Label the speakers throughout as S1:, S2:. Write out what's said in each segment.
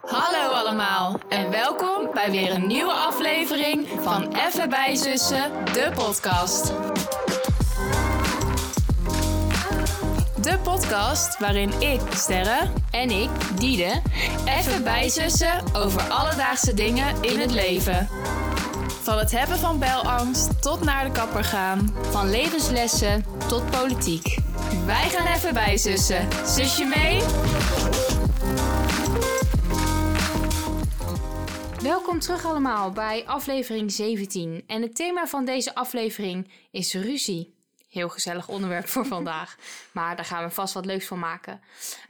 S1: Hallo allemaal en welkom bij weer een nieuwe aflevering van Even bij Zussen, de podcast. De podcast waarin ik, Sterre, en ik, Diede, even bijzussen over alledaagse dingen in het leven. Van het hebben van belangst tot naar de kapper gaan. Van levenslessen tot politiek. Wij gaan even bijzussen. Zusje mee?
S2: Welkom terug allemaal bij aflevering 17. En het thema van deze aflevering is ruzie. Heel gezellig onderwerp voor vandaag. Maar daar gaan we vast wat leuks van maken.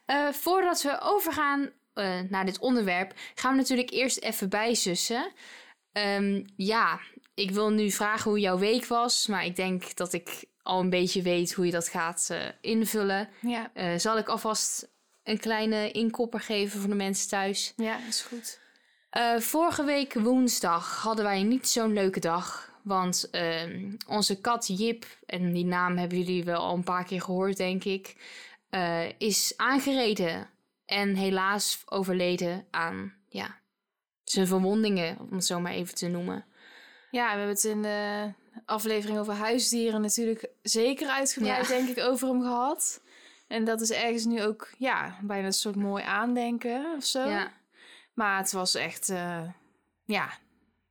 S2: Eh, voordat we overgaan eh, naar dit onderwerp, gaan we natuurlijk eerst even bijzussen. Ehm, ja, ik wil nu vragen hoe jouw week was. Maar ik denk dat ik al een beetje weet hoe je dat gaat eh, invullen.
S3: Ja,
S2: Eh, zal ik alvast een kleine inkopper geven voor de mensen thuis?
S3: ja, is goed.
S2: Eh, vorige week woensdag hadden wij niet zo'n leuke dag. Want ehm, onze kat Jip, en die naam hebben jullie wel al een paar keer gehoord, denk ik, eh, is aangereden. En helaas overleden aan ja, zijn verwondingen, om het zo maar even te noemen.
S3: Ja, we hebben het in de aflevering over huisdieren natuurlijk zeker uitgebreid,
S2: Ja.
S3: denk ik, over hem gehad. En dat is ergens nu ook, ja, bijna een soort mooi aandenken of zo.
S2: Ja.
S3: Maar het was echt, eh, ja,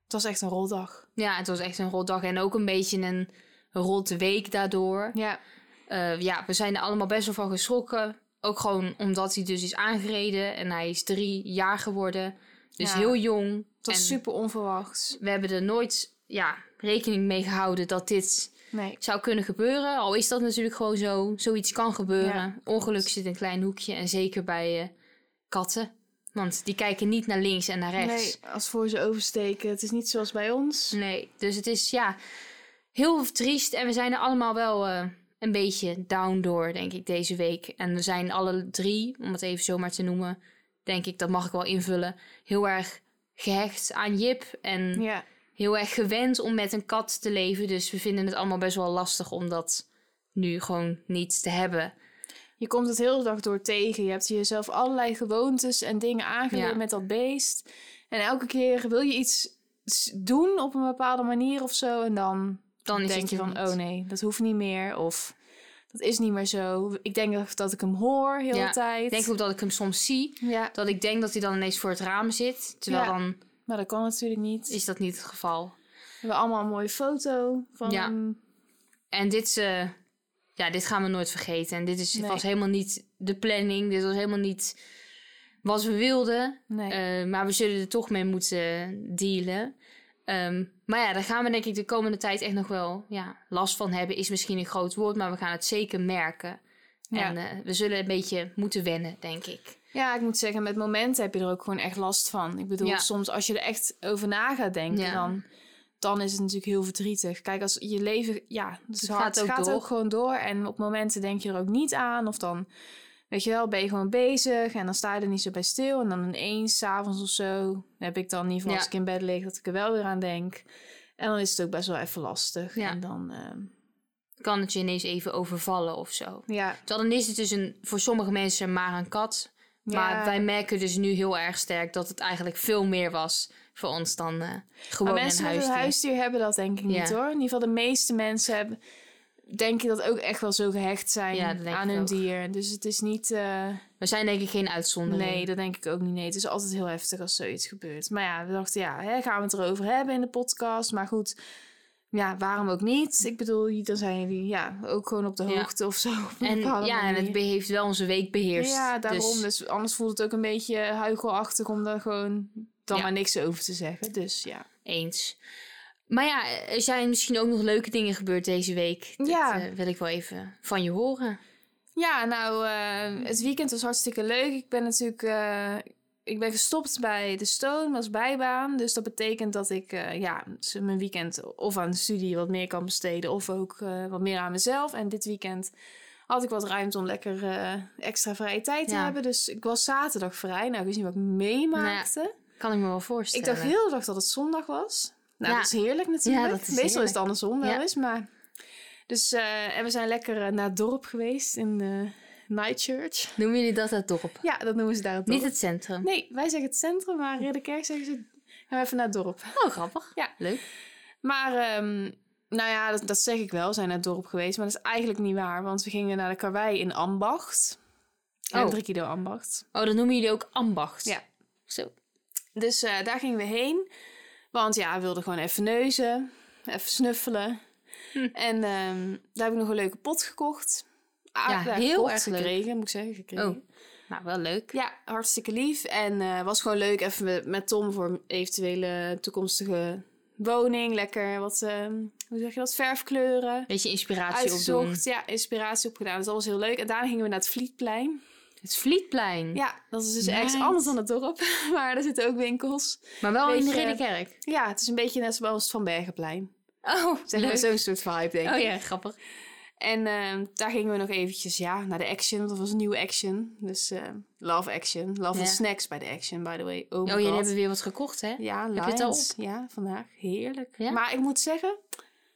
S3: het was echt een roldag.
S2: ja, het was echt een rot dag en ook een beetje een rot week daardoor.
S3: Ja,
S2: Eh, ja, we zijn er allemaal best wel van geschrokken. Ook gewoon omdat hij dus is aangereden en hij is drie jaar geworden. Dus
S3: Ja.
S2: heel jong.
S3: het was
S2: En-
S3: super onverwachts.
S2: we hebben er nooit ja, rekening mee gehouden dat dit
S3: Nee,
S2: zou kunnen gebeuren. Al is dat natuurlijk gewoon zo. Zoiets kan gebeuren.
S3: Ja.
S2: Ongeluk zit in een klein hoekje. En zeker bij eh, katten. Want die kijken niet naar links en naar rechts.
S3: nee, als voor ze oversteken, het is niet zoals bij ons.
S2: Nee. Dus het is ja heel triest. En we zijn er allemaal wel eh, een beetje down door, denk ik, deze week. En we zijn alle drie, om het even zomaar te noemen, denk ik, dat mag ik wel invullen. Heel erg gehecht aan Jip. En
S3: Ja,
S2: heel erg gewend om met een kat te leven. Dus we vinden het allemaal best wel lastig om dat nu gewoon niet te hebben.
S3: je komt het heel de dag door tegen. Je hebt jezelf allerlei gewoontes en dingen aangeleerd
S2: Ja.
S3: met dat beest. En elke keer wil je iets s- doen op een bepaalde manier of zo. En dan
S2: Dan is
S3: denk
S2: het
S3: je
S2: er
S3: van,
S2: niet.
S3: oh nee, dat hoeft niet meer. Of dat is niet meer zo. Ik denk dat- dat ik hem hoor heel
S2: Ja,
S3: de tijd.
S2: Ik denk ook dat ik hem soms zie.
S3: ja,
S2: Dat ik denk dat hij dan ineens voor het raam zit. Terwijl
S3: Ja.
S2: dan
S3: maar dat kan natuurlijk niet.
S2: is dat niet het geval.
S3: We hebben allemaal een mooie foto van
S2: Ja.
S3: hem.
S2: En dit, is, eh, ja, dit gaan we nooit vergeten. En dit is,
S3: Nee.
S2: dus was helemaal niet de planning. Dit was helemaal niet wat we wilden.
S3: Nee.
S2: Eh, maar we zullen er toch mee moeten dealen. Ehm, maar ja, daar gaan we denk ik de komende tijd echt nog wel ja, last van hebben. Is misschien een groot woord, maar we gaan het zeker merken.
S3: Ja.
S2: En eh, we zullen een beetje moeten wennen, denk ik.
S3: Ja, ik moet zeggen, met momenten heb je er ook gewoon echt last van. Ik bedoel,
S2: Ja.
S3: soms als je er echt over na gaat denken,
S2: Ja.
S3: dan, dan is het natuurlijk heel verdrietig. Kijk, als je leven, ja, het
S2: Het
S3: gaat,
S2: gaat ook
S3: gaat, ook,
S2: door.
S3: gewoon door. En op momenten denk je er ook niet aan. Of dan, weet je wel, ben je gewoon bezig en dan sta je er niet zo bij stil. En dan ineens, s'avonds of zo, heb ik dan in ieder geval
S2: Ja.
S3: als ik in bed lig, dat ik er wel weer aan denk. En dan is het ook best wel even lastig.
S2: Ja.
S3: En dan, ehm,
S2: Kan het je ineens even overvallen of zo?
S3: ja,
S2: Terwijl dan is het dus een, voor sommige mensen maar een kat. Maar
S3: Ja.
S2: wij merken dus nu heel erg sterk dat het eigenlijk veel meer was voor ons dan eh, gewoon
S3: maar mensen
S2: een
S3: met
S2: huisdier.
S3: een huisdier hebben dat denk ik niet
S2: Ja.
S3: hoor. In ieder geval de meeste mensen hebben, denk ik dat ook echt wel zo gehecht zijn
S2: Ja, dat denk
S3: aan
S2: ik
S3: hun
S2: ook.
S3: dier. Dus het is niet... eh,
S2: We zijn denk ik geen uitzondering.
S3: nee, dat denk ik ook niet. Nee, het is altijd heel heftig als zoiets gebeurt. Maar ja, we dachten ja, hè, gaan we het erover hebben in de podcast. Maar goed, ja, waarom ook niet? Ik bedoel, dan zijn jullie ja, ook gewoon op de
S2: Ja.
S3: hoogte of zo. op een
S2: En
S3: bepaalde
S2: ja, en
S3: manier.
S2: het be- heeft wel onze week beheerst.
S3: Ja, daarom.
S2: Dus,
S3: Dus... anders voelt het ook een beetje huichelachtig om daar gewoon dan
S2: Ja.
S3: maar niks over te zeggen. Dus ja.
S2: eens. Maar ja, er zijn misschien ook nog leuke dingen gebeurd deze week. Dat
S3: Ja.
S2: eh, wil ik wel even van je horen.
S3: Ja, nou, eh, het weekend was hartstikke leuk. Ik ben natuurlijk eh, ik ben gestopt bij de Stone als bijbaan. Dus dat betekent dat ik eh, ja, z- mijn weekend of aan de studie wat meer kan besteden... of ook eh, wat meer aan mezelf. En dit weekend had ik wat ruimte om lekker eh, extra vrije tijd te
S2: Ja.
S3: hebben. Dus ik was zaterdag vrij. Nou, ik wist niet wat ik meemaakte.
S2: Kan ik me wel
S3: ik
S2: voorstellen.
S3: dacht heel de dag dat het zondag was. Nou,
S2: Ja.
S3: dat is heerlijk natuurlijk.
S2: Ja, dat is
S3: Meestal is
S2: heerlijk.
S3: het andersom wel
S2: Ja.
S3: eens, maar... Dus, eh, en we zijn lekker eh, naar het dorp geweest in eh, Nightchurch.
S4: Noemen jullie dat het dorp?
S3: Ja, dat noemen ze daar het dorp.
S4: Niet het centrum.
S3: Nee, wij zeggen het centrum, maar Ridderkerk zeggen ze gaan we even naar het dorp.
S4: Oh, grappig.
S3: Ja.
S4: Leuk.
S3: Maar, ehm, nou ja, dat, dat zeg ik wel. We zijn naar het dorp geweest, maar dat is eigenlijk niet waar. Want we gingen naar de karwei in Ambacht.
S4: Oh.
S3: Hendrik Ido Ambacht.
S4: Oh, dat noemen jullie ook ambacht.
S3: Ja.
S4: Zo.
S3: Dus eh, daar gingen we heen. Want ja, we wilden gewoon even neuzen. Even snuffelen.
S4: Hm.
S3: En ehm, daar heb ik nog een leuke pot gekocht. Ah,
S4: Ja,
S3: nou,
S4: heel
S3: gekocht,
S4: erg leuk.
S3: gekregen, moet ik zeggen. Gekregen.
S4: Oh. Nou, wel leuk.
S3: Ja, hartstikke lief. En eh, was gewoon leuk even met, met Tom voor eventuele toekomstige woning. Lekker wat, ehm, hoe zeg je dat, verfkleuren.
S4: Beetje inspiratie opdoen.
S3: Uitgezocht, ja, inspiratie opgedaan. Dus dat was heel leuk. En daarna gingen we naar het Vlietplein.
S4: Het Vlietplein.
S3: Ja, dat is dus ergens
S4: Mm. Nice.
S3: anders dan het dorp. Maar daar zitten ook winkels.
S4: Maar wel in de
S3: Beetje-
S4: Ridderkerk.
S3: Ja, het is een beetje net zoals het Van Bergenplein.
S4: Oh,
S3: Zeg maar zo'n soort vibe, denk ik.
S4: Oh ja, grappig.
S3: En ehm, daar gingen we nog eventjes ja, naar de action. Want dat was een nieuwe action. Dus eh, love action. Love
S4: Ja.
S3: and snacks bij de action, by the way. Oh, my
S4: Oh, jullie
S3: God.
S4: hebben weer wat gekocht, hè?
S3: Ja,
S4: je het al
S3: Lions. Ja, vandaag. Heerlijk.
S4: Ja?
S3: Maar ik moet zeggen,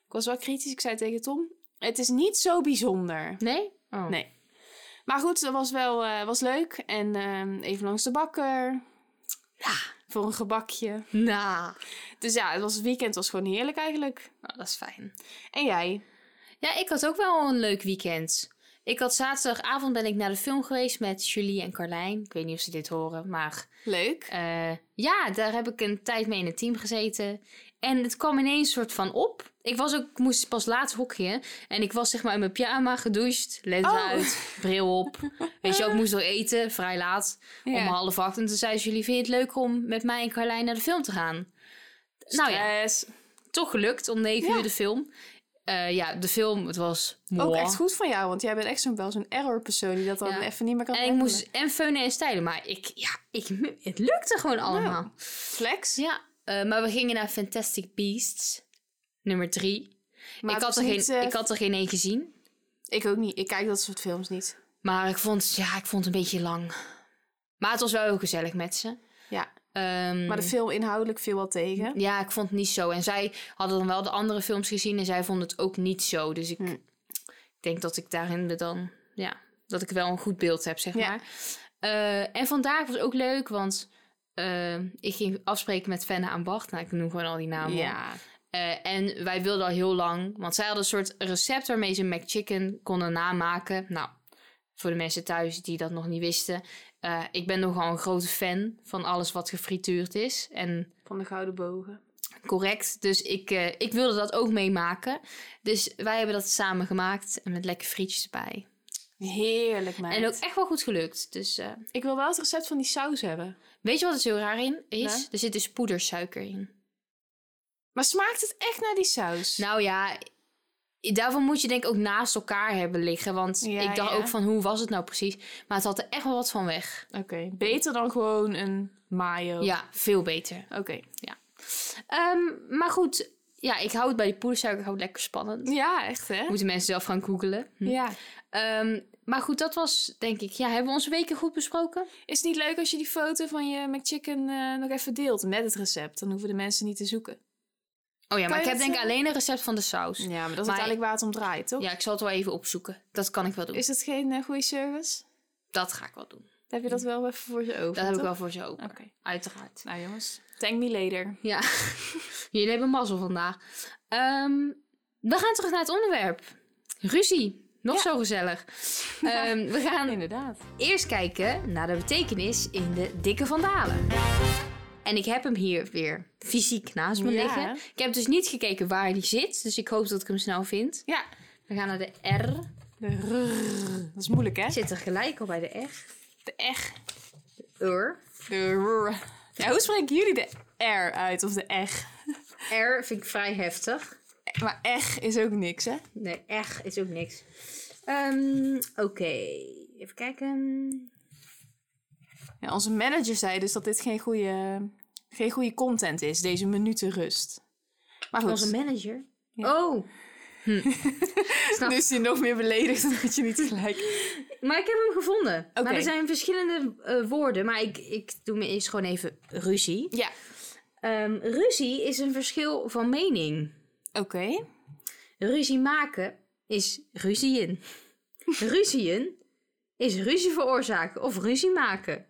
S3: ik was wel kritisch. Ik zei tegen Tom, het is niet zo bijzonder.
S4: Nee? Oh.
S3: Nee. Maar goed, dat was wel eh, was leuk. En ehm, even langs de bakker. Voor een gebakje.
S4: Nou,
S3: Dus ja, het was, het weekend was gewoon heerlijk eigenlijk.
S4: nou, dat is fijn.
S3: En jij?
S4: Ja, ik had ook wel een leuk weekend. Ik had zaterdagavond ben ik naar de film geweest met Julie en Carlijn. Ik weet niet of ze dit horen, maar
S3: Leuk.
S4: eh, ja, daar heb ik een tijd mee in het team gezeten. En het kwam ineens soort van op. Ik was ook, ik moest pas laat hokje. En ik was zeg maar in mijn pyjama gedoucht, lens
S3: Oh.
S4: uit, bril op. Weet je, ook moest nog eten, vrij laat, om
S3: Ja.
S4: half acht. En toen zei ze, jullie, vind je het leuk om met mij en Carlijn naar de film te gaan?
S2: Oh
S4: Nou ja,
S3: Stress.
S4: toch gelukt om negen
S3: Ja.
S4: uur de film. Eh, ja, de film, het was
S3: Ook
S4: moi.
S3: echt goed van jou, want jij bent echt zo'n, wel zo'n error persoon die dat dan
S4: Ja.
S3: even niet meer kan
S4: En ik
S3: handelen.
S4: moest en feunen en stijlen, maar ik, ja, ik, het lukte gewoon
S3: Nou.
S4: allemaal.
S3: Flex.
S4: Ja, eh, maar we gingen naar Fantastic Beasts, nummer drie.
S3: Maar
S4: ik,
S3: het
S4: had er
S3: was
S4: geen,
S3: niet, eh,
S4: ik had er geen één gezien,
S3: Ik ook niet. Ik kijk dat soort films niet.
S4: maar ik vond, ja, ik vond het een beetje lang. Maar het was wel heel gezellig met ze.
S3: Ja.
S4: Ehm,
S3: Maar de film inhoudelijk viel wel tegen.
S4: ja, ik vond het niet zo. En zij hadden dan wel de andere films gezien en zij vonden het ook niet zo. Dus ik
S3: Hm.
S4: denk dat ik daarin me dan, ja, dat ik wel een goed beeld heb, zeg
S3: Ja.
S4: maar. Eh, en vandaag was ook leuk, want eh, ik ging afspreken met Fenne aan Bart. Nou, ik noem gewoon al die namen.
S3: Ja.
S4: Eh, en wij wilden al heel lang, want zij hadden een soort recept waarmee ze McChicken konden namaken. Nou, voor de mensen thuis die dat nog niet wisten. eh, ik ben nogal een grote fan van alles wat gefrituurd is. En
S3: Van de Gouden Bogen.
S4: Correct. Dus ik, eh, ik wilde dat ook meemaken. Dus wij hebben dat samen gemaakt en met lekker frietjes erbij.
S3: Heerlijk, meid.
S4: En ook echt wel goed gelukt. Dus eh,
S3: Ik wil wel het recept van die saus hebben.
S4: weet je wat er zo raar in is?
S3: Nou?
S4: Er zit dus poedersuiker in.
S3: Maar smaakt het echt naar die saus?
S4: Nou ja, daarvan moet je denk ik ook naast elkaar hebben liggen. Want
S3: Ja,
S4: ik dacht
S3: ja.
S4: ook van hoe was het nou precies? Maar het had er echt wel wat van weg.
S3: Oké. Beter dan gewoon een mayo.
S4: Ja, veel beter.
S3: Oké.
S4: Ehm, maar goed, ja, ik hou het bij die poedersuiker ik hou het lekker spannend.
S3: Ja, echt hè?
S4: Moeten mensen zelf gaan googelen. Hm.
S3: Ja.
S4: Ehm, maar goed, dat was denk ik. Ja, hebben we onze weken goed besproken?
S3: Is het niet leuk als je die foto van je McChicken eh, nog even deelt met het recept? Dan hoeven de mensen niet te zoeken.
S4: Oh ja, maar
S3: je
S4: ik
S3: dat
S4: heb denk ik
S3: zeggen?
S4: alleen een recept van de saus.
S3: Ja,
S4: Ja.
S3: maar dat is
S4: Maar-
S3: uiteindelijk waar het om draait, toch?
S4: ik zal het wel even opzoeken. Dat kan ik wel doen.
S3: Is dat geen eh, goede service?
S4: Dat ga ik wel doen.
S3: Dan heb je dat wel even voor je over.
S4: Dat heb ik
S3: toch?
S4: wel voor ze open.
S3: Oké.
S4: Uiteraard.
S3: Nou jongens, thank me later.
S4: Ja, jullie hebben mazzel vandaag. Ehm, we gaan terug naar het onderwerp. Ruzie. Nog zo gezellig. Ehm, we gaan
S3: Inderdaad.
S4: eerst kijken naar de betekenis in de dikke vandalen. En ik heb hem hier weer fysiek naast me
S3: Ja.
S4: liggen. Ik heb dus niet gekeken waar die zit. Dus ik hoop dat ik hem snel vind.
S3: Ja.
S4: We gaan naar de R.
S3: Dat is moeilijk, hè?
S4: Hij zit er gelijk al bij de R.
S3: De eg.
S4: Ur.
S3: De rrr. Ja, hoe spreken jullie de R uit of de eg?
S4: R vind ik vrij heftig.
S3: Maar eg is ook niks, hè?
S4: Nee, echt is ook niks. Ehm, Oké, even kijken.
S3: Ja, onze manager zei dus dat dit geen goede, geen goede content is, deze minuten rust. Maar goed,
S4: Onze manager.
S3: Ja.
S4: Oh,
S3: nu is hij nog meer beledigd omdat je niet gelijk...
S4: maar ik heb hem gevonden. Maar
S3: Oké.
S4: er zijn verschillende eh, woorden, maar ik, ik doe me eerst gewoon even ruzie.
S3: Ja,
S4: Ehm, ruzie is een verschil van mening.
S3: oké.
S4: Ruzie maken is ruzieën. ruzieën is ruzie veroorzaken of ruzie maken.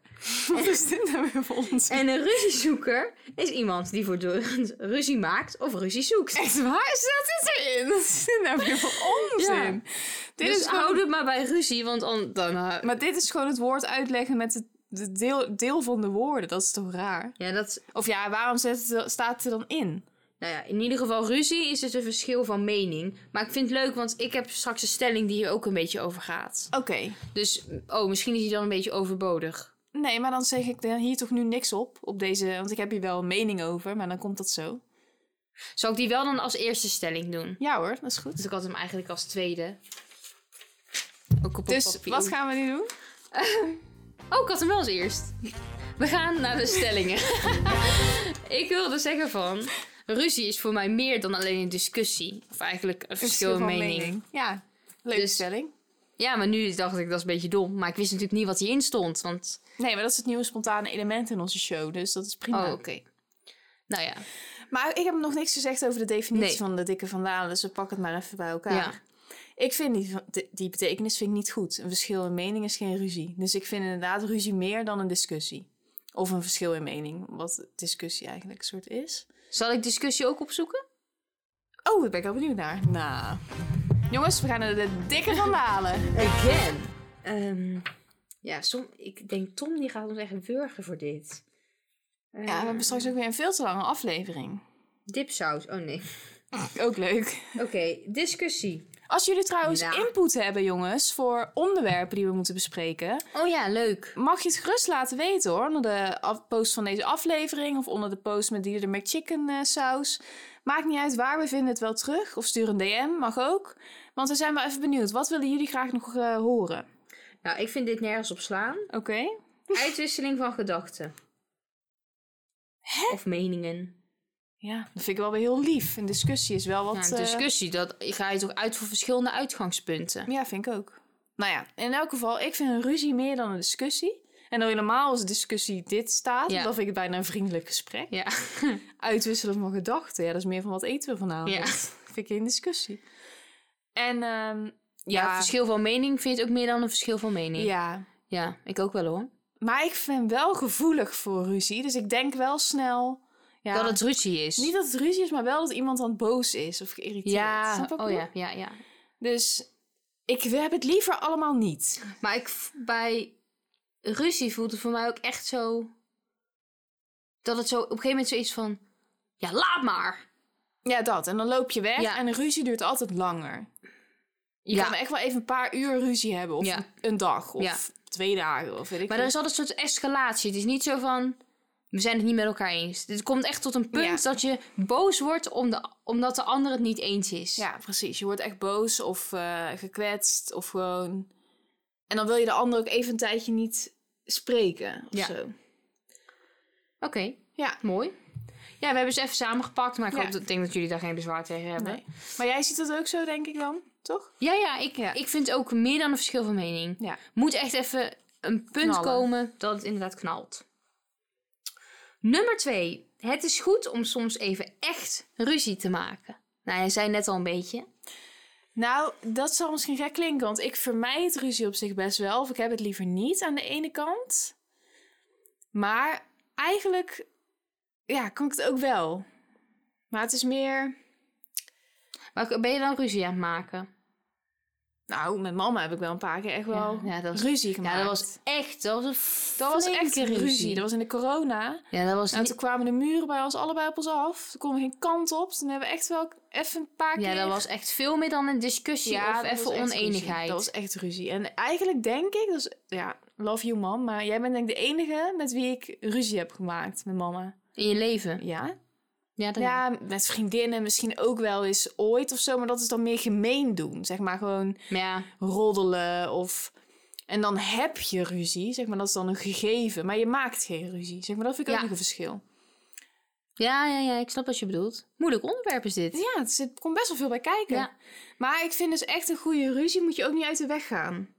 S3: Wat is dit nou weer voor ons?
S4: En een ruziezoeker is iemand die voortdurend ruzie maakt of ruzie zoekt.
S3: Echt waar staat dit erin? Wat is dit nou weer voor onzin? Dit
S4: Dus
S3: is gewoon-
S4: houd het maar bij ruzie, want an- dan... eh,
S3: Maar dit is gewoon het woord uitleggen met het de deel, deel van de woorden. Dat is toch raar?
S4: ja, dat,
S3: Of ja, waarom zet het, staat het er dan in?
S4: Nou ja, in ieder geval ruzie is dus een verschil van mening. Maar ik vind het leuk, want ik heb straks een stelling die hier ook een beetje over gaat.
S3: Oké.
S4: Dus, oh, misschien is die dan een beetje overbodig.
S3: Nee, maar dan zeg ik dan hier toch nu niks op. Op deze, want ik heb hier wel een mening over, maar dan komt dat zo.
S4: Zal ik die wel dan als eerste stelling doen?
S3: Ja hoor, dat is goed.
S4: Dus ik had hem eigenlijk als tweede. Ook op een
S3: Dus
S4: papier.
S3: wat gaan we nu doen?
S4: Oh, ik had hem wel als eerst. We gaan naar de stellingen. ik wilde zeggen van... Ruzie is voor mij meer dan alleen een discussie. Of eigenlijk een verschil in
S3: van
S4: mening.
S3: Ja, leuke
S4: Dus-
S3: stelling.
S4: Ja, maar nu dacht ik, dat is een beetje dom. Maar ik wist natuurlijk niet wat hierin stond, want...
S3: Nee, maar dat is het nieuwe spontane element in onze show, dus dat is prima.
S4: Oh, oké. Nou ja.
S3: Maar ik heb nog niks gezegd over de definitie
S4: Nee.
S3: van de dikke vandalen, dus we pakken het maar even bij elkaar.
S4: Ja.
S3: Ik vind die, die- die betekenis vind ik niet goed. Een verschil in mening is geen ruzie. Dus ik vind inderdaad ruzie meer dan een discussie. Of een verschil in mening, wat discussie eigenlijk een soort is.
S4: Zal ik discussie ook opzoeken?
S3: Oh, daar ben ik wel benieuwd naar. Nou. Jongens, we gaan naar de dikke vandalen.
S4: Again. Ehm, ja, som, ik denk Tom die gaat ons echt wurgen voor dit. Eh,
S3: Ja, we hebben straks ook weer een veel te lange aflevering.
S4: Dipsaus. Oh nee.
S3: Ook leuk.
S4: Oké, discussie.
S3: Als jullie trouwens
S4: Nou.
S3: input hebben, jongens, voor onderwerpen die we moeten bespreken,
S4: Oh ja, leuk.
S3: mag je het gerust laten weten hoor. Onder de af- post van deze aflevering of onder de post met die de McChicken eh, saus. Maakt niet uit waar, we vinden het wel terug. Of stuur een DM, mag ook. Want we zijn wel even benieuwd. Wat willen jullie graag nog eh, horen?
S4: Nou, ik vind dit nergens op slaan.
S3: Oké.
S4: Uitwisseling van gedachten. Of meningen.
S3: Ja, dat vind ik wel weer heel lief. Een discussie is wel wat...
S4: Nou,
S3: eh,
S4: discussie, dat ga je toch uit voor verschillende uitgangspunten.
S3: Ja, vind ik ook. Nou ja, in elk geval, ik vind een ruzie meer dan een discussie. En dan normaal als discussie dit staat,
S4: Ja.
S3: dan vind ik het bijna een vriendelijk gesprek.
S4: Ja.
S3: Uitwisselen van gedachten, ja, dat is meer van wat eten we vanavond.
S4: Ja.
S3: Vind ik geen discussie. En ehm,
S4: Ja,
S3: ja,
S4: verschil van mening vind je ook meer dan een verschil van mening.
S3: ja,
S4: ja ik ook wel hoor.
S3: maar ik ben wel gevoelig voor ruzie, dus ik denk wel snel... Ja,
S4: Dat het ruzie is.
S3: Niet dat het ruzie is, maar wel dat iemand dan boos is of geïrriteerd.
S4: ja,
S3: Snap je wat ik
S4: oh
S3: bedoel?
S4: ja, ja, ja.
S3: Dus ik heb het liever allemaal niet.
S4: Maar ik, v- bij ruzie voelt het voor mij ook echt zo. Dat het zo op een gegeven moment zoiets van. Ja, laat maar!
S3: Ja, dat. En dan loop je weg
S4: Ja.
S3: en een ruzie duurt altijd langer. Je
S4: Ja.
S3: kan echt wel even een paar uur ruzie hebben. Of
S4: Ja.
S3: een- een dag. Of
S4: Ja.
S3: twee dagen. Of weet ik
S4: Maar er
S3: veel.
S4: is altijd een soort escalatie. Het is niet zo van. We zijn het niet met elkaar eens. Het komt echt tot een punt dat je boos wordt om de, omdat de ander het niet eens is.
S3: Ja, precies. Je wordt echt boos of eh, gekwetst. Of gewoon... En dan wil je de ander ook even een tijdje niet spreken. Of
S4: Ja.
S3: zo.
S4: Oké,
S3: Ja.
S4: mooi. Ja, we hebben ze even samengepakt, maar ik
S3: Ja.
S4: hoop dat, ik denk dat jullie daar geen bezwaar tegen hebben.
S3: Nee. Maar jij ziet dat ook zo, denk ik dan. Toch?
S4: Ja, ja ik,
S3: Ja.
S4: ik vind ook meer dan een verschil van mening.
S3: Ja.
S4: moet echt even een punt
S3: Knallen.
S4: komen dat het inderdaad knalt. Nummer twee. Het is goed om soms even echt ruzie te maken. Nou, hij zei net al een beetje.
S3: Nou, dat zal misschien gek klinken, want ik vermijd ruzie op zich best wel. Of ik heb het liever niet aan de ene kant. Maar eigenlijk, ja, kan ik het ook wel. Maar het is meer...
S4: Maar ben je dan ruzie aan het maken?
S3: Nou, met mama heb ik wel een paar keer echt wel
S4: ja, dat was,
S3: ruzie gemaakt.
S4: ja, dat was echt. Dat was een
S3: dat was echt
S4: flinke
S3: ruzie. Dat was in de corona.
S4: Ja, dat was
S3: Nou,
S4: niet-
S3: toen kwamen de muren bij ons allebei op ons af. Toen kon geen kant op. Toen hebben we echt wel even een paar keer...
S4: ja, dat was echt veel meer dan een discussie of
S3: dat was
S4: even
S3: echt ruzie.
S4: oneenigheid.
S3: Dat was echt ruzie. En eigenlijk denk ik, dus, ja, love you mom, maar jij bent denk ik de enige met wie ik ruzie heb gemaakt met mama.
S4: In je leven.
S3: Ja?
S4: Ja, dat
S3: Ja, met vriendinnen misschien ook wel eens ooit of zo, maar dat is dan meer gemeen doen. Zeg maar gewoon
S4: Maar ja.
S3: roddelen of... En dan heb je ruzie, zeg maar, dat is dan een gegeven. Maar je maakt geen ruzie, zeg maar, dat vind ik
S4: Ja.
S3: ook nog een verschil.
S4: Ja, ja, ja, ik snap wat je bedoelt. Moeilijk onderwerp is dit.
S3: Ja, het zit- komt best wel veel bij kijken.
S4: Ja.
S3: Maar ik vind dus echt een goede ruzie moet je ook niet uit de weg gaan.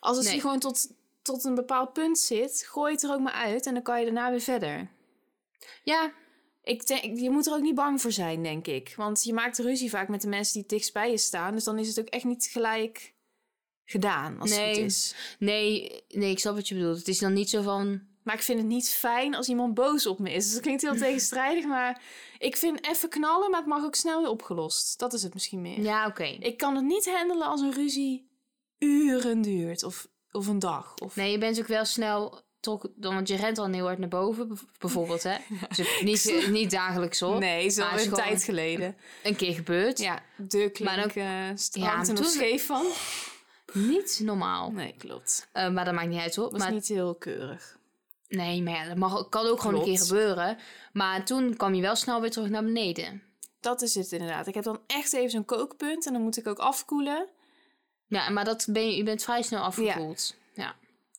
S3: Als het
S4: Nee.
S3: je gewoon tot, tot een bepaald punt zit, gooi het er ook maar uit en dan kan je daarna weer verder.
S4: Ja,
S3: Ik denk, je moet er ook niet bang voor zijn, denk ik. Want je maakt ruzie vaak met de mensen die het dichtst bij je staan. Dus dan is het ook echt niet gelijk gedaan, als het
S4: Nee.
S3: goed is.
S4: Nee, nee, ik snap wat je bedoelt. Het is dan niet zo van...
S3: Maar ik vind het niet fijn als iemand boos op me is. Dus dat klinkt heel tegenstrijdig, maar ik vind even knallen, maar het mag ook snel weer opgelost. Dat is het misschien meer.
S4: Ja, oké.
S3: Ik kan het niet handelen als een ruzie uren duurt of, of een dag. Of...
S4: Nee, je bent ook wel snel... Toch, dan, want je rent dan heel hard naar boven, bev- bijvoorbeeld, hè? Dus het- niet, niet dagelijks, hoor.
S3: Nee, is
S4: Maar
S3: al
S4: is
S3: een
S4: gewoon-
S3: tijd geleden.
S4: Een keer gebeurd.
S3: Ja, de klink
S4: Maar
S3: maar
S4: ook- Ja,
S3: hangt
S4: maar
S3: er nog
S4: toen-
S3: scheef van.
S4: Niet normaal.
S3: Nee, klopt.
S4: Eh, maar dat maakt niet uit, hoor.
S3: Was
S4: Maar,
S3: niet heel keurig.
S4: Nee, maar ja, dat mag, ook- kan ook gewoon een
S3: Klopt.
S4: keer gebeuren. Maar toen kwam je wel snel weer terug naar beneden.
S3: Dat is het inderdaad. Ik heb dan echt even zo'n kookpunt en dan moet ik ook afkoelen.
S4: Ja, maar dat ben je, je bent vrij snel afgekoeld. Ja. Ja.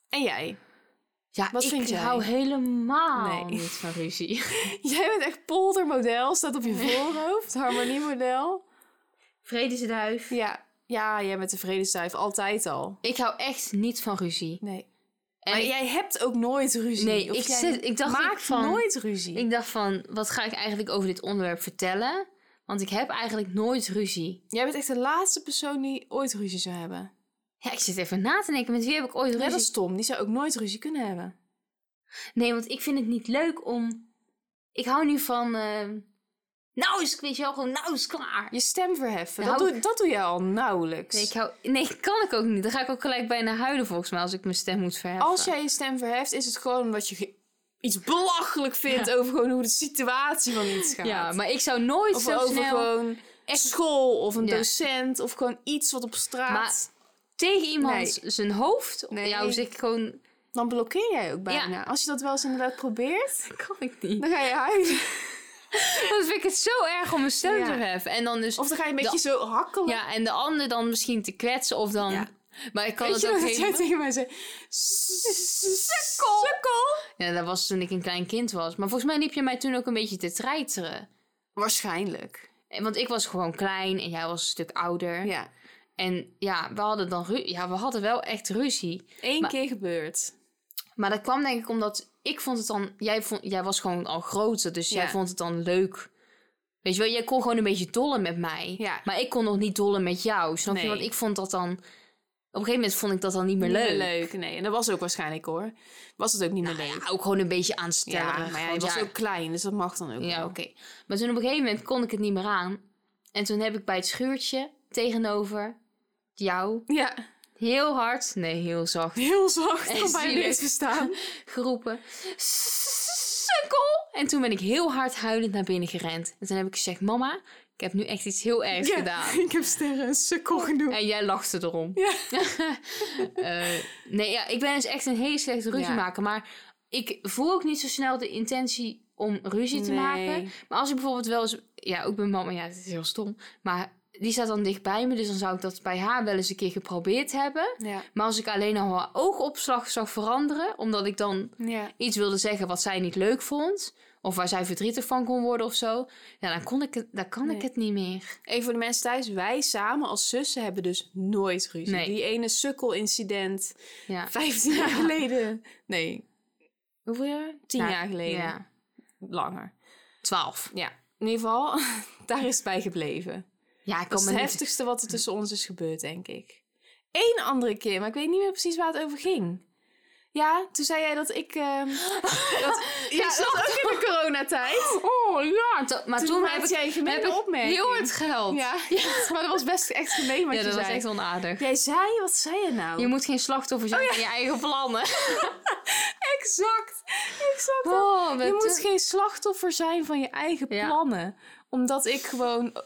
S3: En jij? Wat
S4: ik
S3: vind jij?
S4: hou helemaal
S3: Nee.
S4: niet van ruzie.
S3: Jij bent echt poldermodel, staat op je voorhoofd. Harmoniemodel.
S4: Vredesduif.
S3: Ja. ja, jij bent de vredesduif, altijd al.
S4: Ik hou echt niet van ruzie.
S3: Nee.
S4: En
S3: maar
S4: ik-
S3: jij hebt ook nooit ruzie.
S4: Nee,
S3: Of
S4: ik
S3: jij
S4: zit- ik dacht
S3: maakt
S4: ik van-
S3: nooit ruzie.
S4: ik dacht van, wat ga ik eigenlijk over dit onderwerp vertellen? Want ik heb eigenlijk nooit ruzie.
S3: Jij bent echt de laatste persoon die ooit ruzie zou hebben.
S4: Ja, ik zit even na te denken, met wie heb ik ooit
S3: Net als
S4: ruzie?
S3: Tom, die zou ook nooit ruzie kunnen hebben.
S4: Nee, want ik vind het niet leuk om... Ik hou nu van... eh, nou is, weet je wel, gewoon nou is klaar.
S3: Je stem verheffen,
S4: Ja,
S3: dat,
S4: hou
S3: doe, dat doe jij al nauwelijks.
S4: Nou, Nee, ik hou... nee, kan ik ook niet. Dan ga ik ook gelijk bijna huilen volgens mij als ik mijn stem moet verheffen.
S3: Als jij je stem verheft, is het gewoon omdat je ge- iets belachelijk vindt over gewoon hoe de situatie van iets gaat.
S4: Ja, maar ik zou nooit
S3: of
S4: zo
S3: over
S4: snel
S3: gewoon
S4: echt
S3: school of een
S4: Ja.
S3: docent of gewoon iets wat op straat.
S4: Maar- tegen iemand zijn hoofd.
S3: Nee.
S4: Ja, dus ik gewoon...
S3: Dan blokkeer jij ook bijna. Als je dat wel eens inderdaad probeert,
S4: Dat kan ik niet.
S3: dan ga je huilen.
S4: Dan vind ik het zo erg om mijn stem
S3: Ja.
S4: te verheffen. En dan dus...
S3: Of dan ga je een beetje
S4: Dan-
S3: zo hakkelen.
S4: Ja, en de ander dan misschien te kwetsen of dan...
S3: Ja.
S4: Maar ik kan
S3: Weet je
S4: het
S3: nog
S4: ook
S3: dat
S4: helemaal...
S3: jij tegen mij zei? Sukkel!
S4: Ja, dat was toen ik een klein kind was. Maar volgens mij liep je mij toen ook een beetje te treiteren.
S3: Waarschijnlijk.
S4: En- Want ik was gewoon klein en jij was een stuk ouder.
S3: Ja.
S4: En ja we, hadden dan ru- ja, we hadden wel echt ruzie.
S3: Eén
S4: Maar-
S3: keer gebeurd.
S4: Maar dat kwam denk ik omdat ik vond het dan... Jij, vond, jij was gewoon al groter, dus jij
S3: Ja.
S4: vond het dan leuk. Weet je wel, jij kon gewoon een beetje dollen met mij.
S3: Ja.
S4: Maar ik kon nog niet dollen met jou, snap je?
S3: Nee.
S4: Want ik vond dat dan... Op een gegeven moment vond ik dat dan niet meer
S3: Niet
S4: leuk. Nou
S3: meer leuk. Nee, en dat was ook waarschijnlijk hoor. Was het ook niet meer leuk.
S4: Ja, ook gewoon een beetje aanstellerig.
S3: Ja, maar hij
S4: want
S3: was
S4: ja,
S3: ook klein, dus dat mag dan ook
S4: Ja,
S3: wel.
S4: oké. Maar toen op een gegeven moment kon ik het niet meer aan. En toen heb ik bij het schuurtje tegenover jou
S3: Ja,
S4: heel hard, nee, heel zacht,
S3: heel zacht.
S4: En
S3: Kan bijna
S4: zielig.
S3: niks verstaan.
S4: geroepen. Sukkel! En toen ben ik heel hard huilend naar binnen gerend. En toen heb ik gezegd, mama, ik heb nu echt iets heel ergs
S3: Ja,
S4: gedaan.
S3: Ik heb sterren en sukkel genoemd.
S4: En jij lachte erom.
S3: Ja.
S4: Eh, nee, ja, ik ben dus echt een hele slechte ruziemaker. Maar ik voel ook niet zo snel de intentie om ruzie te
S3: Nee.
S4: maken. Maar als ik bijvoorbeeld wel eens... Ja, ook mijn mama, ja, het is heel stom. Maar die staat dan dicht bij me. Dus dan zou ik dat bij haar wel eens een keer geprobeerd hebben.
S3: Ja.
S4: Maar als ik alleen al haar oogopslag zag veranderen... omdat ik dan
S3: ja.
S4: iets wilde zeggen wat zij niet leuk vond... of waar zij verdrietig van kon worden of zo... Ja, dan, kon ik het, dan kan ik
S3: Nee.
S4: het niet meer.
S3: Even voor de mensen thuis. Wij samen als zussen hebben dus nooit ruzie.
S4: Nee.
S3: Die ene sukkelincident
S4: Ja.
S3: 15 jaar geleden. Nee. Hoeveel jaar? 10
S4: Nou,
S3: jaar geleden.
S4: Ja,
S3: Langer.
S4: twaalf.
S3: Ja. In ieder geval, daar is het bij gebleven.
S4: Ja,
S3: Dat
S4: ik kan
S3: is
S4: me
S3: het
S4: niet...
S3: heftigste wat er tussen ons is gebeurd, denk ik. Eén andere keer, maar ik weet niet meer precies waar het over ging. Ja, toen zei jij dat ik... ehm, dat, ja, dat was ook in de coronatijd.
S4: Oh ja, to- maar toen,
S3: Toen, toen
S4: heb
S3: maakte
S4: ik
S3: jij een
S4: heb ik
S3: gemene opmerking.
S4: heel hard geld.
S3: Ja, maar dat was best echt gemeen wat
S4: ja
S3: je
S4: dat was
S3: zei.
S4: echt onaardig.
S3: Jij zei, wat zei je nou?
S4: Je moet geen slachtoffer zijn van je eigen plannen.
S3: Exact, exact. dat.
S4: Oh,
S3: je moet geen slachtoffer zijn van je eigen
S4: Ja.
S3: plannen. Omdat ik gewoon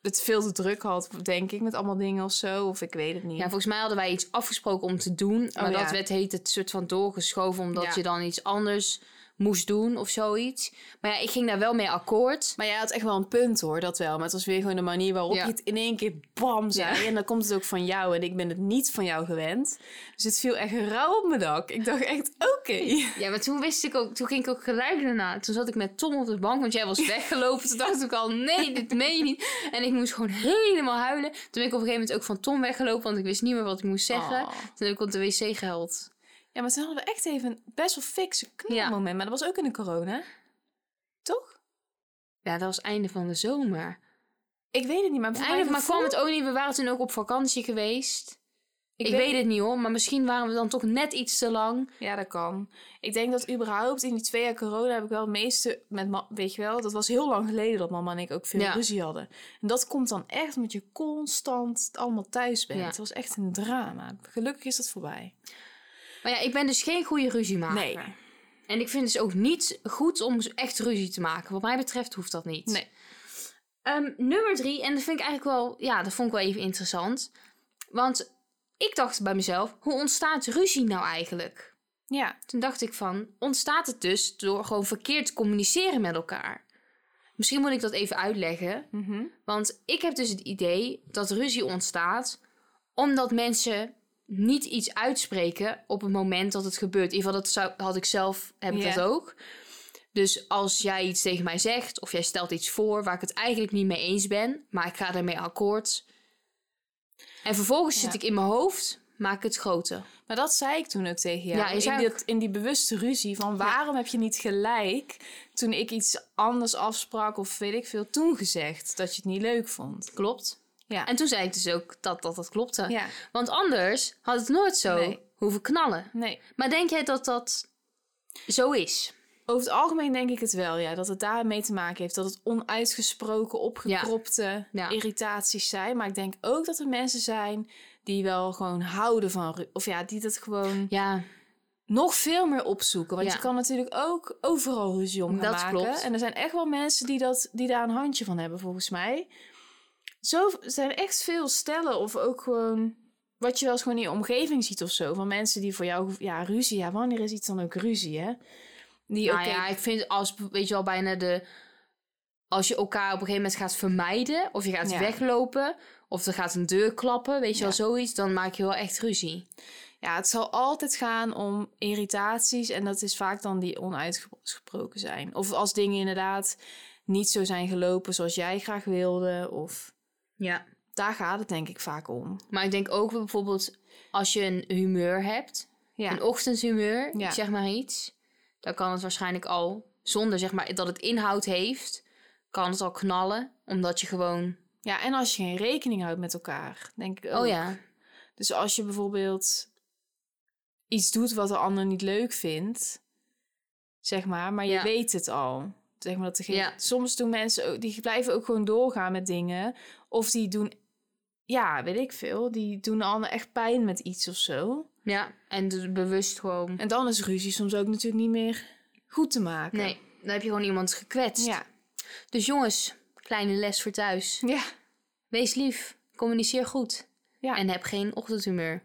S3: het veel te druk had, denk ik, met allemaal dingen of zo. Of ik weet het niet.
S4: Ja, volgens mij hadden wij iets afgesproken om te doen. Maar
S3: ja.
S4: dat werd heet het soort van doorgeschoven omdat
S3: Ja.
S4: je dan iets anders moest doen of zoiets. Maar ja, ik ging daar wel mee akkoord.
S3: Maar jij had echt wel een punt hoor, dat wel. Maar het was weer gewoon de manier waarop
S4: Ja.
S3: je het in één keer bam zei. En dan komt het ook van jou en ik ben het niet van jou gewend. Dus het viel echt rauw op mijn dak. Ik dacht echt, oh. oké.
S4: Ja, maar toen wist ik ook, toen ging ik ook gelijk daarna. Toen zat ik met Tom op de bank, want jij was weggelopen. Toen dacht ik al, nee, dit meen je niet. En ik moest gewoon helemaal huilen. Toen ben ik op een gegeven moment ook van Tom weggelopen, want ik wist niet meer wat ik moest zeggen.
S3: Oh.
S4: Toen heb ik op de wc gehuild.
S3: Ja, maar toen hadden we echt even een best wel fikse knalmoment. Maar dat was ook in de corona. Toch?
S4: Ja, dat was het einde van de zomer.
S3: Ik weet het niet, maar voor
S4: Eindelijk,
S3: mijn
S4: maar
S3: gevoel-
S4: kwam het ook niet. We waren toen ook op vakantie geweest. Ik, weet... het niet hoor, maar misschien waren we dan toch net iets te lang.
S2: Ja, dat kan. Ik denk dat überhaupt in die twee jaar corona heb ik wel het meeste met... ma- Weet je wel, dat was heel lang geleden dat mama en ik ook veel
S4: Ja.
S2: ruzie hadden. En dat komt dan echt omdat je constant allemaal thuis bent.
S4: Ja.
S2: Het was echt een drama. Gelukkig is dat voorbij.
S4: Maar ja, ik ben dus geen goede
S3: Ah,
S4: ruziemaker.
S2: Nee.
S4: En ik vind dus ook niet goed om echt ruzie te maken. Wat mij betreft hoeft dat niet.
S2: Nee.
S4: Ehm, nummer drie, en dat vind ik eigenlijk wel, ja, dat vond ik wel even interessant. Want ik dacht bij mezelf, hoe ontstaat ruzie nou eigenlijk?
S2: Ja,
S4: Toen dacht ik van, ontstaat het dus door gewoon verkeerd te communiceren met elkaar? Misschien moet ik dat even uitleggen.
S2: Mhm.
S4: Want ik heb dus het idee dat ruzie ontstaat omdat mensen niet iets uitspreken op het moment dat het gebeurt. In ieder geval, dat zou, had ik zelf, heb ik
S2: Ja.
S4: dat ook. Dus als jij iets tegen mij zegt of jij stelt iets voor waar ik het eigenlijk niet mee eens ben, maar ik ga daarmee akkoord. En vervolgens zit
S2: Ja.
S4: ik in mijn hoofd, maak ik het groter.
S2: maar dat zei ik toen ook tegen jou.
S4: Ja, je zei
S2: in,
S4: ook-
S2: dat- in die bewuste ruzie van waarom heb je niet gelijk toen ik iets anders afsprak of weet ik veel toen gezegd dat je het niet leuk vond.
S4: Klopt.
S2: Ja.
S4: En toen zei ik dus ook dat dat, dat klopte.
S2: Ja.
S4: Want anders had het nooit zo
S2: Nee.
S4: hoeven knallen.
S2: Nee.
S4: Maar denk jij dat dat zo is?
S2: Over het algemeen denk ik het wel, ja. Dat het daarmee te maken heeft. Dat het onuitgesproken, opgekropte
S4: Ja.
S2: irritaties zijn. Maar ik denk ook dat er mensen zijn die wel gewoon houden van... ru- Of ja, die dat gewoon
S4: Ja,
S2: nog veel meer opzoeken. Want
S4: Ja.
S2: je kan natuurlijk ook overal ruzie om gaan
S4: Dat
S2: maken.
S4: klopt.
S2: En er zijn echt wel mensen die, dat, die daar een handje van hebben, volgens mij. Zo v- zijn echt veel stellen of ook gewoon... Wat je wel eens gewoon in je omgeving ziet of zo. Van mensen die voor jou... Ja, ruzie. Ja, wanneer is iets dan ook ruzie, hè? Die,
S4: Nou
S2: oké,
S4: ja, ik vind als, weet je wel, bijna de... Als je elkaar op een gegeven moment gaat vermijden... of je gaat
S2: Ja.
S4: weglopen... of er gaat een deur klappen, weet je
S2: Ja.
S4: wel, zoiets... dan maak je wel echt ruzie.
S2: Ja, het zal altijd gaan om irritaties en dat is vaak dan die onuitgesproken zijn. Of als dingen inderdaad niet zo zijn gelopen zoals jij graag wilde. Of
S4: Ja.
S2: daar gaat het denk ik vaak om.
S4: Maar ik denk ook bijvoorbeeld... als je een humeur hebt...
S2: Ja,
S4: een ochtendshumeur, ik
S2: Ja.
S4: zeg maar iets... dan kan het waarschijnlijk al... zonder zeg maar, dat het inhoud heeft... kan het al knallen, omdat je gewoon...
S2: ja en als je geen rekening houdt met elkaar, denk ik ook.
S4: Oh ja,
S2: Dus als je bijvoorbeeld iets doet wat de ander niet leuk vindt, zeg maar, maar je
S4: Ja.
S2: weet het al. Zeg maar dat er geen-
S4: Ja.
S2: Soms doen mensen ook, die blijven ook gewoon doorgaan met dingen. Of die doen, ja, weet ik veel, die doen de ander echt pijn met iets of zo.
S4: ja. En dus bewust gewoon...
S2: En dan is ruzie soms ook natuurlijk niet meer goed te maken.
S4: Nee, dan heb je gewoon iemand gekwetst.
S2: Ja.
S4: Dus jongens, kleine les voor thuis.
S2: Ja.
S4: Wees lief, communiceer goed.
S2: Ja.
S4: En heb geen ochtendhumeur.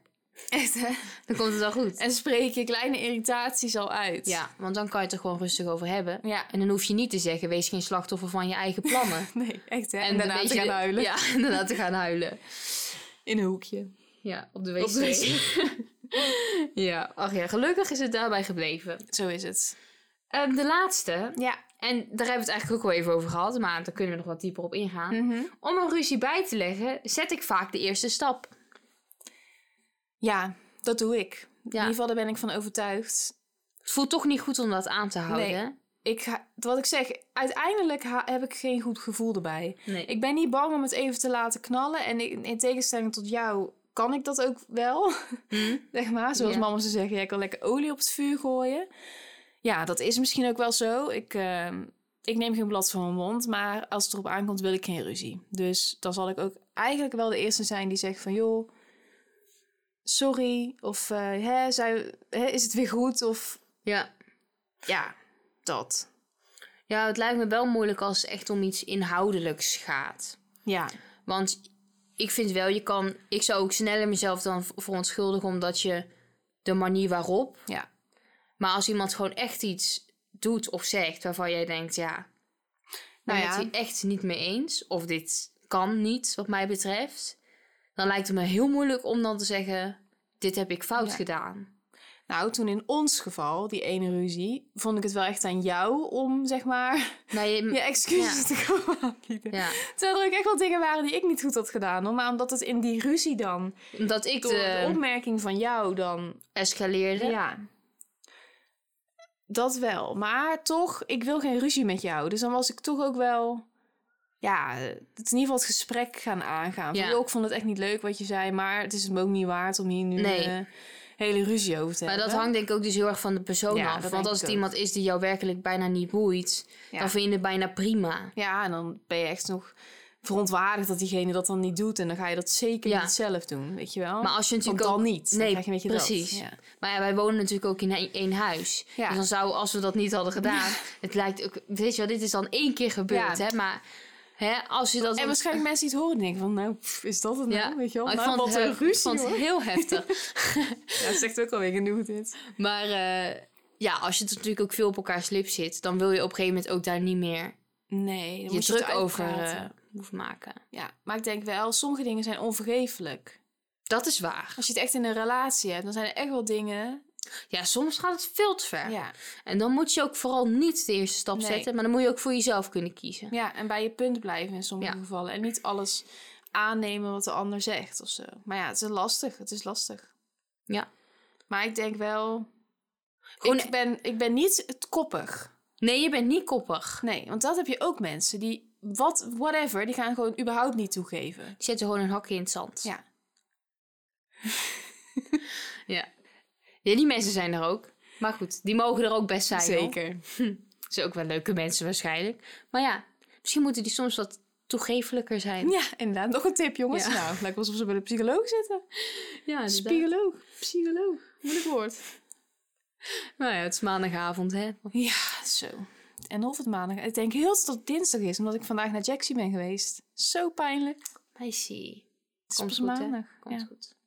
S2: Echt, hè?
S4: Dan komt het wel goed.
S2: En spreek je kleine irritaties al uit.
S4: Ja, want dan kan je het er gewoon rustig over hebben.
S2: Ja.
S4: En dan hoef je niet te zeggen, wees geen slachtoffer van je eigen plannen.
S2: Nee, echt, hè? En,
S4: dan
S2: daarna
S4: weet
S2: te
S4: je
S2: gaan
S4: de-
S2: huilen.
S4: Ja, en daarna te gaan huilen.
S2: In een hoekje.
S4: Ja, op de wc.
S2: Op de
S4: ja, ach ja, gelukkig is het daarbij gebleven.
S2: Zo is het.
S4: Ehm, de laatste,
S2: Ja.
S4: en daar hebben we het eigenlijk ook wel even over gehad, maar daar kunnen we nog wat dieper op ingaan.
S2: Mhm.
S4: Om een ruzie bij te leggen, zet ik vaak de eerste stap.
S2: Ja, dat doe ik. In
S4: Ja.
S2: ieder geval, daar ben ik van overtuigd.
S4: Het voelt toch niet goed om dat aan te houden.
S2: Ik ga, wat ik zeg, uiteindelijk ha- heb ik geen goed gevoel erbij.
S4: Nee.
S2: Ik ben niet bang om het even te laten knallen. En in, in tegenstelling tot jou kan ik dat ook wel. zeg maar, zoals
S4: Hmm? Ja.
S2: mama ze zeggen, jij kan lekker olie op het vuur gooien. Ja, dat is misschien ook wel zo. Ik, ehm, ik neem geen blad van mijn mond, maar als het erop aankomt wil ik geen ruzie. Dus dan zal ik ook eigenlijk wel de eerste zijn die zegt van... joh, sorry, of eh, hè, zijn, hè, is het weer goed, of
S4: Ja.
S2: ja, dat.
S4: ja, het lijkt me wel moeilijk als het echt om iets inhoudelijks gaat.
S2: Ja.
S4: Want ik vind wel, je kan... Ik zou ook sneller mezelf dan v- verontschuldigen omdat je de manier waarop...
S2: Ja.
S4: Maar als iemand gewoon echt iets doet of zegt waarvan jij denkt, ja... Daar
S2: Nou
S4: ben
S2: ja.
S4: ik het hier echt niet mee eens. Of dit kan niet, wat mij betreft. Dan lijkt het me heel moeilijk om dan te zeggen... Dit heb ik fout
S2: Ja.
S4: gedaan.
S2: Nou, toen in ons geval, die ene ruzie, vond ik het wel echt aan jou om, zeg maar,
S4: Nou, je,
S2: je excuses te komen aanbieden.
S4: ja.
S2: Terwijl er ook echt wel dingen waren die ik niet goed had gedaan. hoor. Maar omdat het in die ruzie dan,
S4: Omdat ik eh,
S2: door de
S4: de
S2: opmerking van jou dan...
S4: escaleerde.
S2: Ja. Dat wel. Maar toch, ik wil geen ruzie met jou. Dus dan was ik toch ook wel
S3: ja, het is in ieder geval het gesprek gaan aangaan.
S4: Ja.
S3: Van, joh, ik vond het echt niet leuk wat je zei, maar het is me ook niet waard om hier nu
S4: Nee.
S3: eh, hele ruzie over te
S4: Maar dat
S3: hebben.
S4: hangt denk ik ook dus heel erg van de persoon
S3: Ja, dat
S4: af.
S3: denk
S4: Want als
S3: ik
S4: het
S3: ook.
S4: iemand is die jou werkelijk bijna niet boeit,
S3: Ja.
S4: dan vind je het bijna prima.
S3: Ja, en dan ben je echt nog verontwaardigd dat diegene dat dan niet doet. En dan ga je dat zeker
S4: Ja.
S3: niet zelf doen, weet je wel.
S4: Maar als je natuurlijk
S3: Want
S4: ook...
S3: dan niet. Dan
S4: Nee,
S3: krijg je een beetje dat.
S4: precies.
S3: Ja.
S4: Maar ja, wij wonen natuurlijk ook in één- één huis.
S3: Ja.
S4: Dus dan zou, als we dat niet hadden gedaan... het lijkt ook... Weet je wel, dit is dan één keer gebeurd,
S3: Ja.
S4: hè. Maar hè, als je dat...
S3: En waarschijnlijk mensen die het horen denken van, nou, pff, is dat het nou?
S4: Ja.
S3: Weet je wel,
S4: Oh, ik
S3: nou,
S4: vond
S3: wat
S4: het,
S3: een
S4: heel- ik
S3: ruzie
S4: vond het
S3: hoor.
S4: heel heftig.
S3: Ja, het zegt ook alweer genoeg dit.
S4: Maar eh, ja, als je het natuurlijk ook veel op elkaars lip zit... dan wil je op een gegeven moment ook daar niet meer
S3: Nee, dan
S4: je,
S3: moet
S4: druk
S3: het
S4: over
S3: uitpraten.
S4: eh, hoeven maken.
S3: Ja, maar ik denk wel, sommige dingen zijn onvergeeflijk.
S4: Dat is waar.
S3: Als je het echt in een relatie hebt, dan zijn er echt wel dingen.
S4: Ja, soms gaat het veel te ver.
S3: Ja,
S4: En dan moet je ook vooral niet de eerste stap
S3: Nee.
S4: zetten, maar dan moet je ook voor jezelf kunnen kiezen.
S3: ja en bij je punt blijven in sommige
S4: Ja.
S3: gevallen. En niet alles aannemen wat de ander zegt of zo. Maar ja, het is lastig. Het is lastig.
S4: Ja. Oh,
S3: Maar ik denk wel.
S4: Gewoon-
S3: Ik, ben, ik ben niet het koppig.
S4: Nee, je bent niet koppig.
S3: Nee, want dat heb je ook mensen die. Wat, whatever, die gaan gewoon überhaupt niet toegeven.
S4: Je zet er gewoon een hakje in het zand.
S3: Ja.
S4: ja. Ja, die mensen zijn er ook. Maar goed, die mogen er ook best zijn. hoor. Het zijn ook wel leuke mensen waarschijnlijk. Maar ja, misschien moeten die soms wat toegefelijker zijn.
S3: Ja, inderdaad. Nog een tip, jongens.
S4: Ja.
S3: Nou, lijkt wel alsof ze bij de psycholoog zitten.
S4: Ja, spiegel.
S3: Psycholoog. Psycholoog. Moeilijk woord.
S4: Nou ja, het is maandagavond, hè.
S3: Ja, zo. En of het maandag. Ik denk heel dat het dinsdag is, omdat ik vandaag naar Jacksie ben geweest. Zo pijnlijk. Het
S4: Meisje.
S3: is
S4: Komt
S3: pas
S4: goed, hè?
S3: maandag.
S4: Komt
S3: ja.
S4: goed.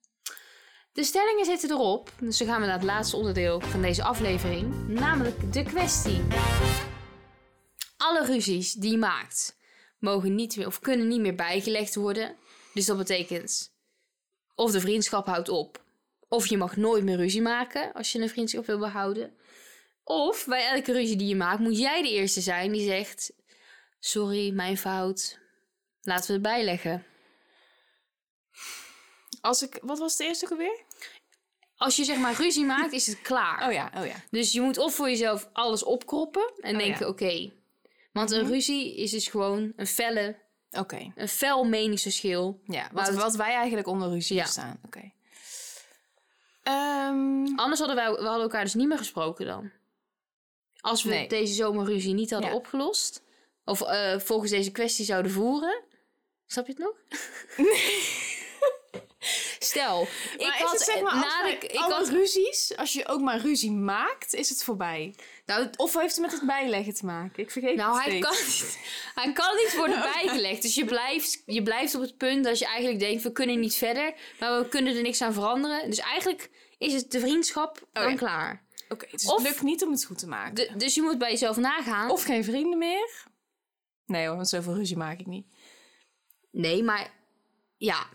S4: De stellingen zitten erop, dus dan gaan we naar het laatste onderdeel van deze aflevering, namelijk de kwestie. Alle ruzies die je maakt mogen niet meer of kunnen niet meer bijgelegd worden. Dus dat betekent of de vriendschap houdt op, of je mag nooit meer ruzie maken als je een vriendschap wil behouden. Of bij elke ruzie die je maakt moet jij de eerste zijn die zegt: "Sorry, mijn fout. Laten we het bijleggen."
S3: Als ik, wat was het eerste ook alweer?
S4: Als je zeg maar ruzie maakt, is het klaar.
S3: Oh ja, oh ja.
S4: Dus je moet of voor jezelf alles opkroppen en
S3: Oh,
S4: denken,
S3: ja. Mhm.
S4: oké. Want een ruzie is dus gewoon een felle,
S3: Oké.
S4: een fel meningsverschil.
S3: Ja, wat,
S4: Maar dat-
S3: wat wij eigenlijk onder ruzie
S4: Ja.
S3: staan. Oké. Ehm,
S4: Anders hadden wij, we hadden elkaar dus niet meer gesproken dan. Als we
S3: Nee.
S4: deze zomer ruzie niet hadden
S3: Ja.
S4: opgelost, of eh, volgens deze kwestie zouden voeren. Snap je het nog? Stel, ik
S3: maar is
S4: had
S3: het zeg
S4: eh,
S3: maar,
S4: na
S3: als
S4: de-
S3: bij
S4: ik
S3: alle
S4: had,
S3: ruzies, als je ook maar ruzie maakt, is het voorbij.
S4: nou,
S3: Of heeft het met het bijleggen te maken? Ik vergeet
S4: Nou,
S3: het
S4: hij
S3: steeds.
S4: kan, niet, hij kan niet worden bijgelegd. Dus je blijft, je blijft op het punt dat je eigenlijk denkt: we kunnen niet verder, maar we kunnen er niks aan veranderen. Dus eigenlijk is het de vriendschap dan
S3: Oh ja.
S4: klaar.
S3: Oké, dus
S4: Of-
S3: het lukt niet om het goed te maken.
S4: De- dus je moet bij jezelf nagaan.
S3: Of geen vrienden meer. Nee hoor, Oh, want zoveel ruzie maak ik niet.
S4: nee, maar ja.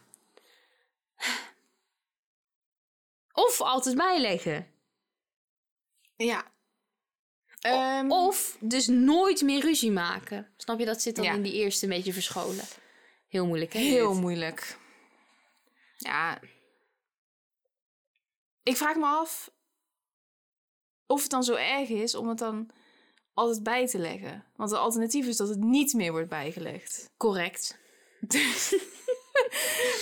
S4: Of altijd bijleggen.
S3: Ja. Oh, Mm. Ehm,
S4: Of dus nooit meer ruzie maken. Snap je, dat zit dan
S3: Ja.
S4: in die eerste een beetje verscholen. Heel moeilijk, hè?
S3: heel
S4: dit?
S3: moeilijk. Ja. Ik vraag me af of het dan zo erg is om het dan altijd bij te leggen. Want het alternatief is dus dat het niet meer wordt bijgelegd.
S4: Correct.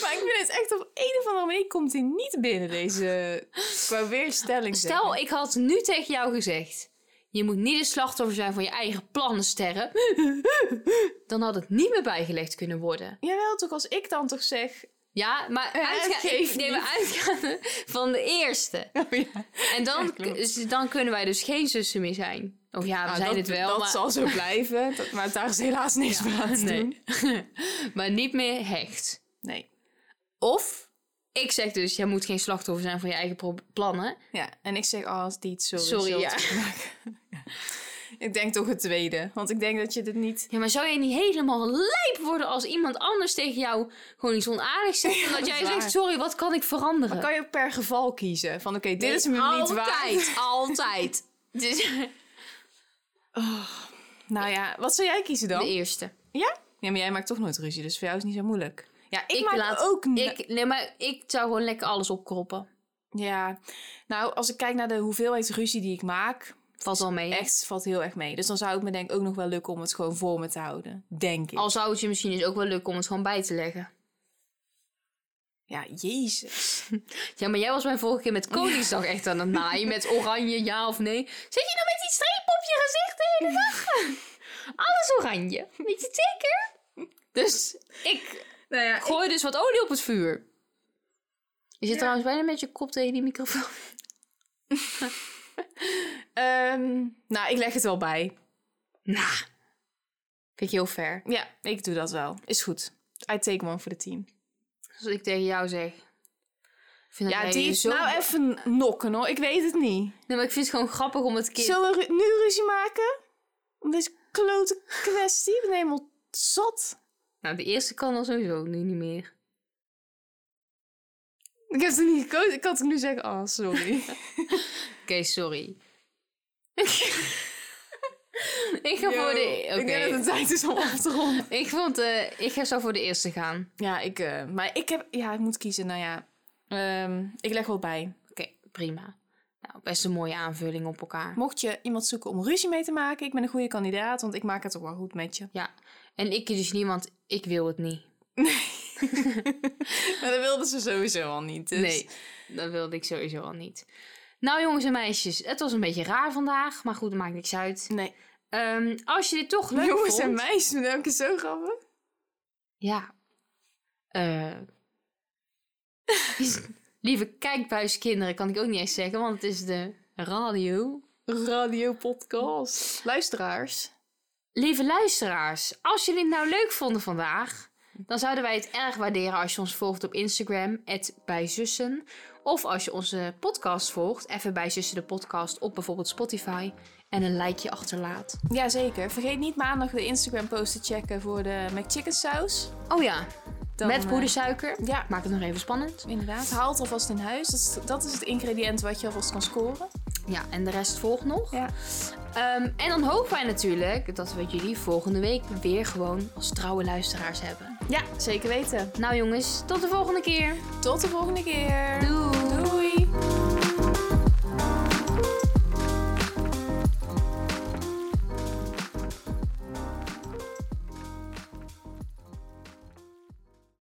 S3: Maar ik vind het echt op een of andere manier komt hij niet binnen deze qua weerstelling. zeg
S4: Stel,
S3: maar.
S4: ik had nu tegen jou gezegd: Je moet niet het slachtoffer zijn van je eigen plannen, sterren. Dan had het niet meer bijgelegd kunnen worden.
S3: Jawel, toch als ik dan toch zeg...
S4: Ja, maar
S3: Ja,
S4: uitga-
S3: geeft
S4: ik neem maar uitgaande van de eerste.
S3: Oh ja,
S4: En dan,
S3: klopt.
S4: dus dan kunnen wij dus geen zussen meer zijn. Of ja, we
S3: nou,
S4: zijn
S3: dat,
S4: het wel.
S3: dat
S4: maar,
S3: zal zo blijven. Dat, maar daar is helaas niks meer aan te doen.
S4: nee. maar niet meer hecht.
S3: Nee.
S4: Of ik zeg dus: Jij moet geen slachtoffer zijn van je eigen pro- plannen.
S3: Ja, en ik zeg oh, als die het sorry.
S4: Sorry,
S3: zult
S4: ja.
S3: maken. ik denk toch het tweede. Want ik denk dat je dit niet...
S4: Ja, maar zou je niet helemaal lijp worden als iemand anders tegen jou gewoon iets onaardigs zegt?
S3: Ja,
S4: omdat
S3: dat is
S4: jij zegt,
S3: waar.
S4: sorry, wat kan ik veranderen?
S3: Kan je ook per geval kiezen? Van oké, dit
S4: Nee,
S3: is me niet waar.
S4: Altijd, altijd. Dus,
S3: Nou ja, wat zou jij kiezen
S4: de
S3: dan?
S4: eerste.
S3: Ja? Ja, maar jij maakt toch nooit ruzie. Dus voor jou is het niet zo moeilijk. Ja, ik, maak
S4: laat-
S3: ook... n-
S4: Ik, nee, maar ik zou gewoon lekker alles opkroppen.
S3: Ja. Nou, als ik kijk naar de hoeveelheid ruzie die ik maak...
S4: Valt wel mee. hè?
S3: Echt valt heel erg mee. Dus dan zou het me denk ik ook nog wel lukken om het gewoon voor me te houden. Denk ik.
S4: Al zou het je misschien dus ook wel lukken om het gewoon bij te leggen.
S3: Ja, jezus.
S4: Ja, maar jij was mij vorige keer met Koningsdag echt aan het naaien. Met oranje, ja of nee. Zit je nou met die streep op je gezicht de hele dag? Alles oranje. Weet je het zeker? Dus ik
S3: Nou ja,
S4: gooi dus wat olie op het vuur. Je zit trouwens bijna met je kop tegen die microfoon.
S3: Ehm, nou, ik leg het wel bij.
S4: Nou, vind ik heel ver.
S3: Ja, ik doe dat wel. Is goed. I take one for the team.
S4: Als ik tegen jou zeg. ik Vind dat
S3: Ja,
S4: jij
S3: die
S4: je
S3: is
S4: zo...
S3: nou even nokken hoor. Ik weet het niet.
S4: Nee, maar ik vind het gewoon grappig om het kind...
S3: Zullen we ru- nu ruzie maken? Om deze klote kwestie? Ik ben helemaal zot.
S4: Nou, de eerste kan al sowieso nu niet meer.
S3: Ik heb het niet gekozen. Ik kan het nu zeggen. Oh, sorry.
S4: Oké, sorry. ik ga
S3: Oh,
S4: voor de... Oké.
S3: Ik denk dat het tijd is om af te ronden.
S4: Ik vond... eh, ik zou voor de eerste gaan.
S3: Ja, ik, eh, maar ik heb... Ja, ik moet kiezen. Nou ja. Ehm, ik leg wel bij.
S4: Oké, prima. Nou, best een mooie aanvulling op elkaar.
S3: Mocht je iemand zoeken om ruzie mee te maken, ik ben een goede kandidaat, want ik maak het toch wel goed met je.
S4: Ja. En ik dus niet, want ik wil het niet.
S3: Maar dat wilden ze sowieso al niet. Dus.
S4: Nee, dat wilde ik sowieso al niet. Nou, jongens en meisjes, het was een beetje raar vandaag. Maar goed, maakt niks uit.
S3: Nee.
S4: Ehm, als je dit toch leuk
S3: Jongens
S4: vond...
S3: en meisjes, dat heb ik het zo grappig.
S4: Ja. Eh. lieve kijkbuiskinderen kan ik ook niet eens zeggen, want het is de radio.
S3: Radio podcast. Luisteraars.
S4: Lieve luisteraars, als jullie het nou leuk vonden vandaag, dan zouden wij het erg waarderen als je ons volgt op Instagram, bijzussen. Of als je onze podcast volgt, even bij Zussen de podcast op bijvoorbeeld Spotify. En een likeje achterlaat.
S3: Jazeker. Vergeet niet maandag de Instagram post te checken voor de McChicken saus.
S4: Oh ja,
S3: Dan,
S4: met
S3: eh,
S4: poedersuiker.
S3: ja.
S4: Maak het nog even spannend.
S3: Inderdaad. Haal het alvast in huis. Dat is, dat is het ingrediënt wat je alvast kan scoren.
S4: Ja, en de rest volgt nog.
S3: Ja.
S4: Ehm, en dan hopen wij natuurlijk dat we jullie volgende week weer gewoon als trouwe luisteraars hebben.
S3: Ja, zeker weten.
S4: Nou jongens, tot de volgende keer.
S3: Tot de volgende keer.
S4: Doei!